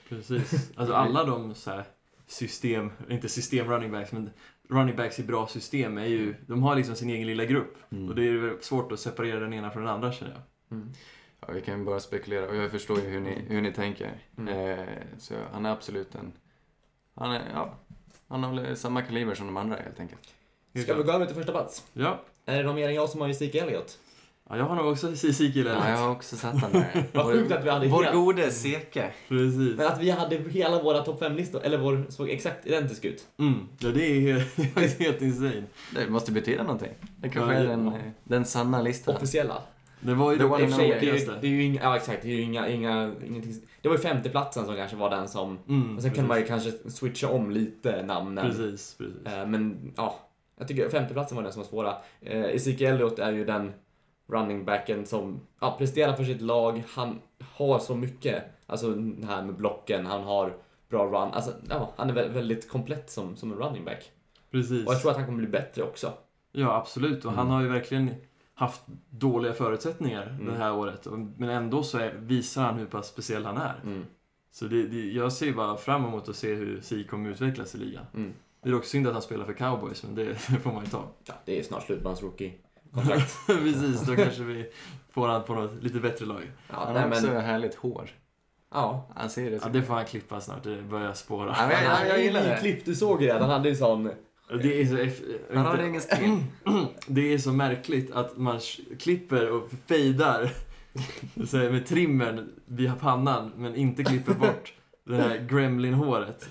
Precis. Alltså alla de så här system, inte system running backs, men running backs i bra system är ju, de har liksom sin egen lilla grupp. Mm. Och det är väl svårt att separera den ena från den andra känner jag. Mm. Ja, vi kan ju bara spekulera och jag förstår ju hur ni, hur ni tänker. Mm. Eh, så han är absolut en... Han, är, ja, han har väl samma kaliber som de andra helt enkelt. Helt Ska vi klart. gå över till första plats? Ja. Är det någon mer än jag som har Justik Elliot? ja, jag har nog också CC killen. Ja, jag har också satt han där. Vad Vår- sjukt att vi hade Vår helt- gode Seke. Precis. Men att vi hade hela våra topp 5-listor, eller vår, såg exakt identisk ut. Mm. Ja, det är helt, det är helt insane. Det måste betyda någonting. Det kanske Ja, är ja. den, eh, den sanna listan. Officiella. Det var ju The det one I och för sig, det, är ju, tråkigaste. det är ju inga, ja exakt, det är ju inga, inga, ingenting. Det var ju femteplatsen som kanske var den som, Mm, och sen precis. kunde man ju kanske switcha om lite namnen. Precis, precis. Eh, Men ja, jag tycker femteplatsen var den som var svåra. Eh, Ezekiel Elliott är ju den running backen som ja, presterar för sitt lag. Han har så mycket, alltså det här med blocken, han har bra run. Alltså, ja, han är vä- väldigt komplett som, som en running back. precis. Och Mm. jag tror att han kommer bli bättre också. Ja, absolut. Och han har ju verkligen haft dåliga förutsättningar det Mm. här året. Och- Men ändå så är, visar han hur pass speciell han är. Mm. Så det, det, jag ser bara fram emot att se hur Si kommer utvecklas i ligan. Mm. Det är dock synd att han spelar för cowboys, men det, det får man ju ta. Ja, det är snart slut med hans rookie-kontrakt. Precis, då kanske vi får han på något lite bättre lag. Ja, Han har nej, också men, härligt hår. ja. Han ser det. Ja, det får han klippa snart, det börjar spåra. Ja, men- Han är jag ju gillar det. nyklippt, du såg ju det. Han hade ju sån... Det är så... eff- Han har inte- ingen stil. Det är så märkligt att man sh- klipper och fejdar så här, med trimmern vid pannan men inte klipper bort det här gremlin-håret.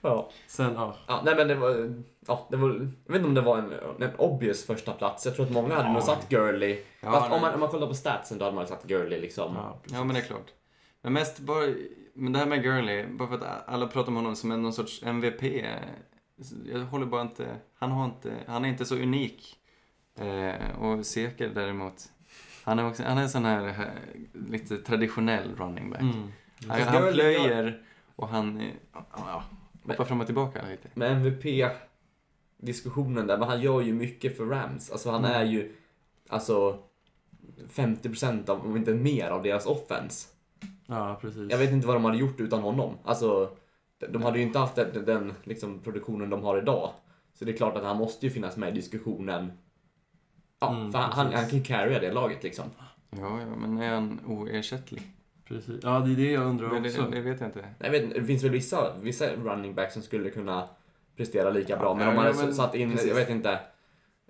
Ja. Sen, ja. Ja, nej men det var, ja, det var... Jag vet inte om det var en, en obvious första plats. Jag tror att många hade nog satt Gurley. Ja, Fast nej. om man, om man kollar på statsen då hade man satt Gurley liksom. ja, precis. Ja, men det är klart. Men mest bara, men det här med Gurley, bara för att alla pratar om honom som en, någon sorts MVP. eh, Jag håller bara inte, han har inte, han är inte så unik. Eh, och Seker däremot, han är också, han är en sån här eh, lite traditionell running back. Mm. Han, Fast han Gurley plöjer och han, eh, ja, ja, hoppar fram och tillbaka lite. Med MVP-diskussionen där, men han gör ju mycket för Rams. Alltså han Mm. är ju, alltså 50% av, om inte mer, av deras offense. Ja, precis. Jag vet inte vad de hade gjort utan honom. Alltså, de- de hade ju inte haft den, den liksom, produktionen de har idag. Så det är klart att han måste ju finnas med i diskussionen. Ja, Mm, för han, han, precis. han kan ju carrya det laget liksom. Ja, ja, men är han oersättlig? precis. Ja, det är det jag undrar Det, det, också. det vet jag inte. Jag vet, inte, det finns väl vissa, vissa running backs som skulle kunna prestera lika bra, Ja, men om man ja, hade men- satt in, precis. jag vet inte,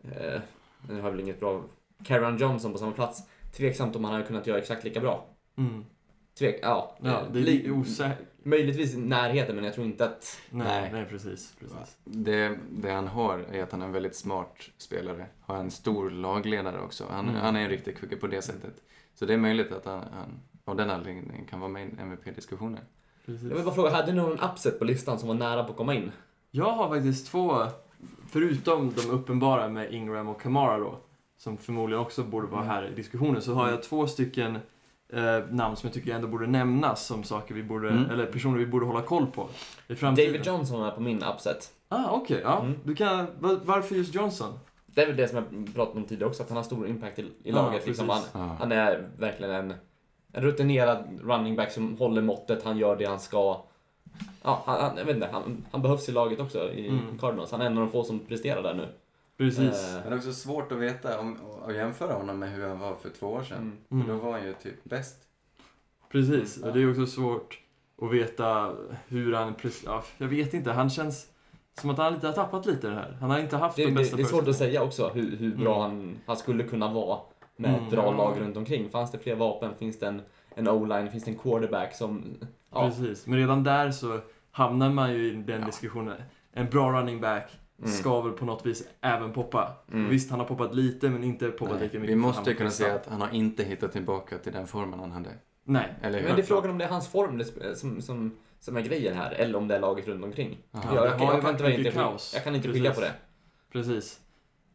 eh, nu har jag väl inget bra, Karen Johnson på samma plats, tveksamt om han hade kunnat göra exakt lika bra. Mm. Tvek, ja, Ja, eh, det li- är osäkert. möjligtvis i närheten, men jag tror inte att, Nej, Nej. nej, precis. precis. Det, det han har är att han är en väldigt smart spelare. Har en stor lagledare också. Han, Mm. han är en riktig kucke på det sättet. Så det är möjligt att han, han av den anledningen kan vara med i MVP-diskussionen. precis. jag vill bara fråga, hade ni någon upset på listan som var nära på att komma in? Jag har faktiskt två, förutom de uppenbara med Ingram och Kamara då, som förmodligen också borde Mm. vara här i diskussionen, så har jag två stycken eh, namn som jag tycker ändå borde nämnas som saker vi borde, Mm. eller personer vi borde hålla koll på i framtiden. David Johnson är på min upset. Ah, okej. ja. Mm. Du kan, va- varför just Johnson? Det är väl det som jag pratade om tidigare också, att han har stor impact i, i Ja, laget. Liksom. Han, precis. Ja. Han är verkligen en, en rutinerad running back som håller måttet, han gör det han ska. Ja, han, han, jag vet inte, han, han behövs i laget också i Mm. Cardinals. Han är en av de få som presterar där nu. Precis. Eh, Men det är också svårt att veta om, och jämföra honom med hur han var för två år sedan. Mm. Mm. För då var han ju typ bäst. Precis, Ja. och det är också svårt att veta hur han... pres- Ja, jag vet inte, han känns som att han lite har tappat lite det här. Han har inte haft Det, de det, det bästa är svårt att förutsättningarna. säga också hur, hur bra Mm. han, han skulle kunna vara med Mm, ett bra ja. lag runt omkring. Fanns det fler vapen? Finns det en, en o-line? Finns det en quarterback som... Ja, Precis, men redan där så hamnar man ju i den diskussionen. En bra running back Mm. ska väl på något vis även poppa. Mm. Visst, han har poppat lite men inte poppat Nej, lika mycket. vi som måste han kunna prestade. säga att han har inte hittat tillbaka till den formen han hade. Nej. Eller hur? men det är frågan om det är hans form det sp- eh, som, som, som är grejen här, eller om det är laget runt omkring. Ja. jag, det jag, har ju jag, kan varit inte, vara mycket inte- kaos. jag kan inte skilja på Precis. det. Precis.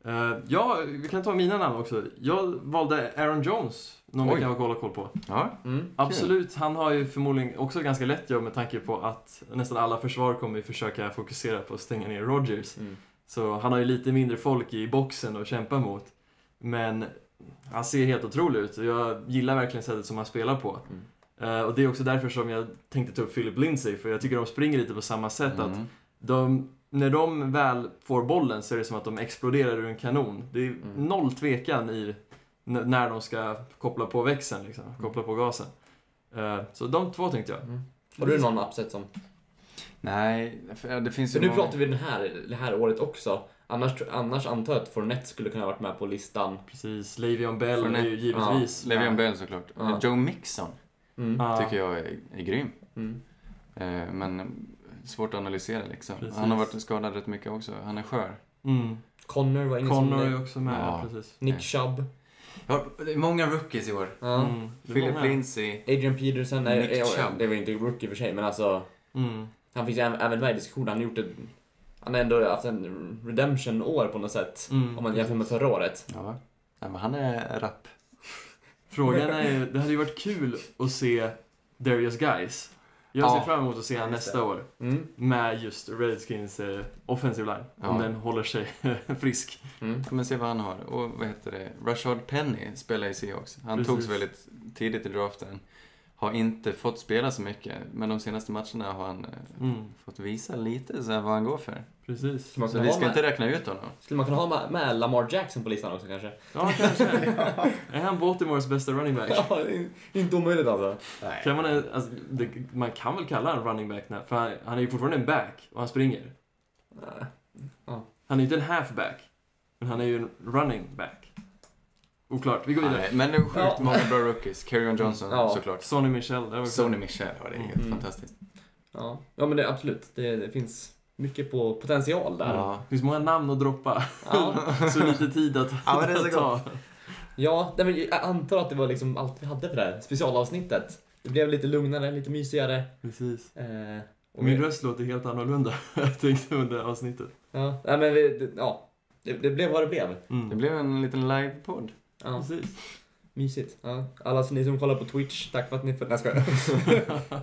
Eh, ja, vi kan ta mina namn också. Jag valde Aaron Jones, någon vi Oj. kan kolla koll på. Ja, Mm. Absolut, han har ju förmodligen också ett ganska lätt jobb med tanke på att nästan alla försvar kommer ju försöka fokusera på att stänga ner Rodgers. Mm. Så han har ju lite mindre folk i boxen att kämpa mot. Men han ser helt otrolig ut och jag gillar verkligen sättet som han spelar på. Mm. Eh, och det är också därför som jag tänkte ta upp Philip Lindsay, för jag tycker de springer lite på samma sätt. Att Mm. de, när de väl får bollen så är det som att de exploderar ur en kanon. Det är Mm. noll tvekan i n- när de ska koppla på växeln, liksom, Mm. koppla på gasen. Eh, så de två tänkte jag. Mm. Har du någon upset som... Nej, för det finns Så ju nu många- pratar vi den här, det här året också. Annars, annars antar jag att Fournette skulle kunna ha varit med på listan. Precis, Le'Veon Bell är ju Fournette. givetvis. Le'Veon Bell såklart. Ja. Joe Mixon Mm. Ja, tycker jag är, är grym. Mm. Eh, Men eh, svårt att analysera liksom. Precis. Han har varit skadad rätt mycket också. Han är skör. Mm. Connor var ingen Connor som... är ju också med, Ja. precis. Nick Chubb. Ja, det är många rookies i år. Ja. Mm. Det är Philip många. Lindsay. Adrian Peterson, är, Nick är, Chubb. det var inte rookie för sig, men alltså Mm. han finns ju även även med i diskussionen. Han har gjort ett, han har ändå haft en redemption-år på något sätt. Mm. Om man jämför med förra året. Ja, va? Nej, men han är rapp. Frågan är ju, det hade ju varit kul att se Darius Guys. Jag Ja. ser fram emot att se han Just nästa det. år Mm. med just Redskins eh, offensive line. Om Ja. den håller sig frisk. Mm. Kommer se vad han har. Och vad heter det? Rashard Penny spelar i Seahawks. Han Precis. togs väldigt tidigt i draften. Har inte fått spela så mycket, men de senaste matcherna har han eh, Mm, fått visa lite så här vad han går för. precis. Skulle man Så kunna vi ha ska med, inte räkna ut honom. Skulle man kunna ha med, med Lamar Jackson på listan också kanske? Ja, kanske. är han Baltimores bästa running back? Ja, det är inte omöjligt alltså. Kan man, eh, alltså, det, man kan väl kalla han running back, när, för han, han är ju fortfarande en back och han springer. Nej. Han är inte en halfback, men han är ju en running back. Oklart, vi går vidare. Nej, men det är sjukt Ja. många bra rookies. Kerryon Johnson Ja. såklart. Sonny Michel, där också. Sony Mm. Michel, ja det är helt Mm. fantastiskt. Ja, ja men det, absolut. Det, det finns mycket på potential där. Ja, Ja. Det finns många namn att droppa, ja. så lite tid att Ja, men det är så ta. nej, men jag antar att det var liksom allt vi hade för det här specialavsnittet. Det blev lite lugnare, lite mysigare. Precis. Eh, och Min vi- röst låter helt annorlunda, jag tänkte under avsnittet. Ja, nej, men vi, det, ja. Det, det blev vad det blev. Mm. Det blev en liten livepodd. Ja, Precis. mysigt. Ja. Alla som- ni som kollar på Twitch, tack för att ni för... Nej, jag skojar.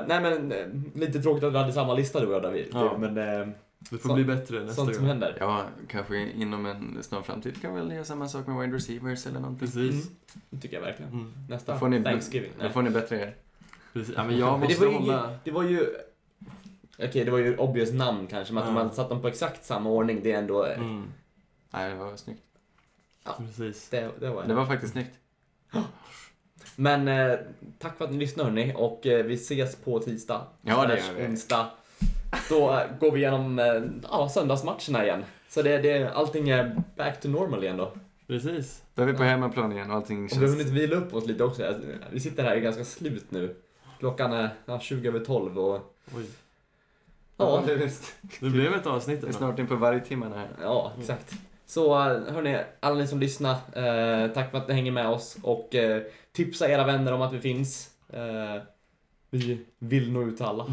Eh, Nej, men eh, lite tråkigt att vi hade samma lista du och jag David. Ja. Men eh, Det får Så- bli bättre nästa sånt som gång. händer. Ja, kanske inom en snar framtid kan vi väl göra samma sak med wide receivers eller någonting. Precis. Mm. Det tycker jag verkligen. Mm. Nästa Då får ni- Thanksgiving. Då får ni bättre er. Precis. Ja, men jag Men det måste var ju, hålla... det var ju... Okej, det var ju obvious namn kanske, men att om Ja. man satt dem på exakt samma ordning, det är ändå... Mm. Nej, det var snyggt. Precis. Det, det var Det det. var faktiskt snyggt. Men eh, tack för att ni lyssnade hörni, och eh, vi ses på tisdag. Ja, det Slash gör vi. Onsdag. Då eh, går vi igenom eh, ja, söndagsmatcherna igen. Så det, det, allting är back to normal igen då. Och Precis. Då är vi på hemmaplan igen och allting vi har hunnit känns... vila upp oss lite också. Jag- Vi sitter här ganska slut nu. Klockan är ja, 20 över 12 och... Oj. Ja, det är visst. Det blev ett avsnitt. Det är ändå. snart in på varje timme här. Ja, Mm. exakt. Så eh, hörni, alla ni som lyssnar, eh, tack för att ni hänger med oss och eh, tipsa era vänner om att vi finns. Eh, vi vill nå ut till alla.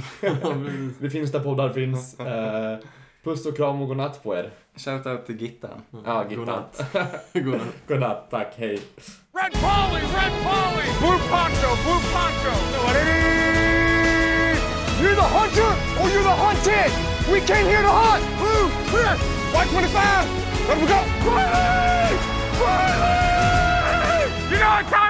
vi finns där poddar finns. Eh, puss och kram och godnatt på er. Shoutout till Gittan. Ja, Gittan. Godnatt. Godnatt. Godnatt, tack, hej. Red Polly, Red Polly, Blue Poncho, Blue Poncho. What it is? You're the hunter or you're the hunted? We came here to hunt. Blue, clear. Y25. Let we go. Riley! Riley! You know what time?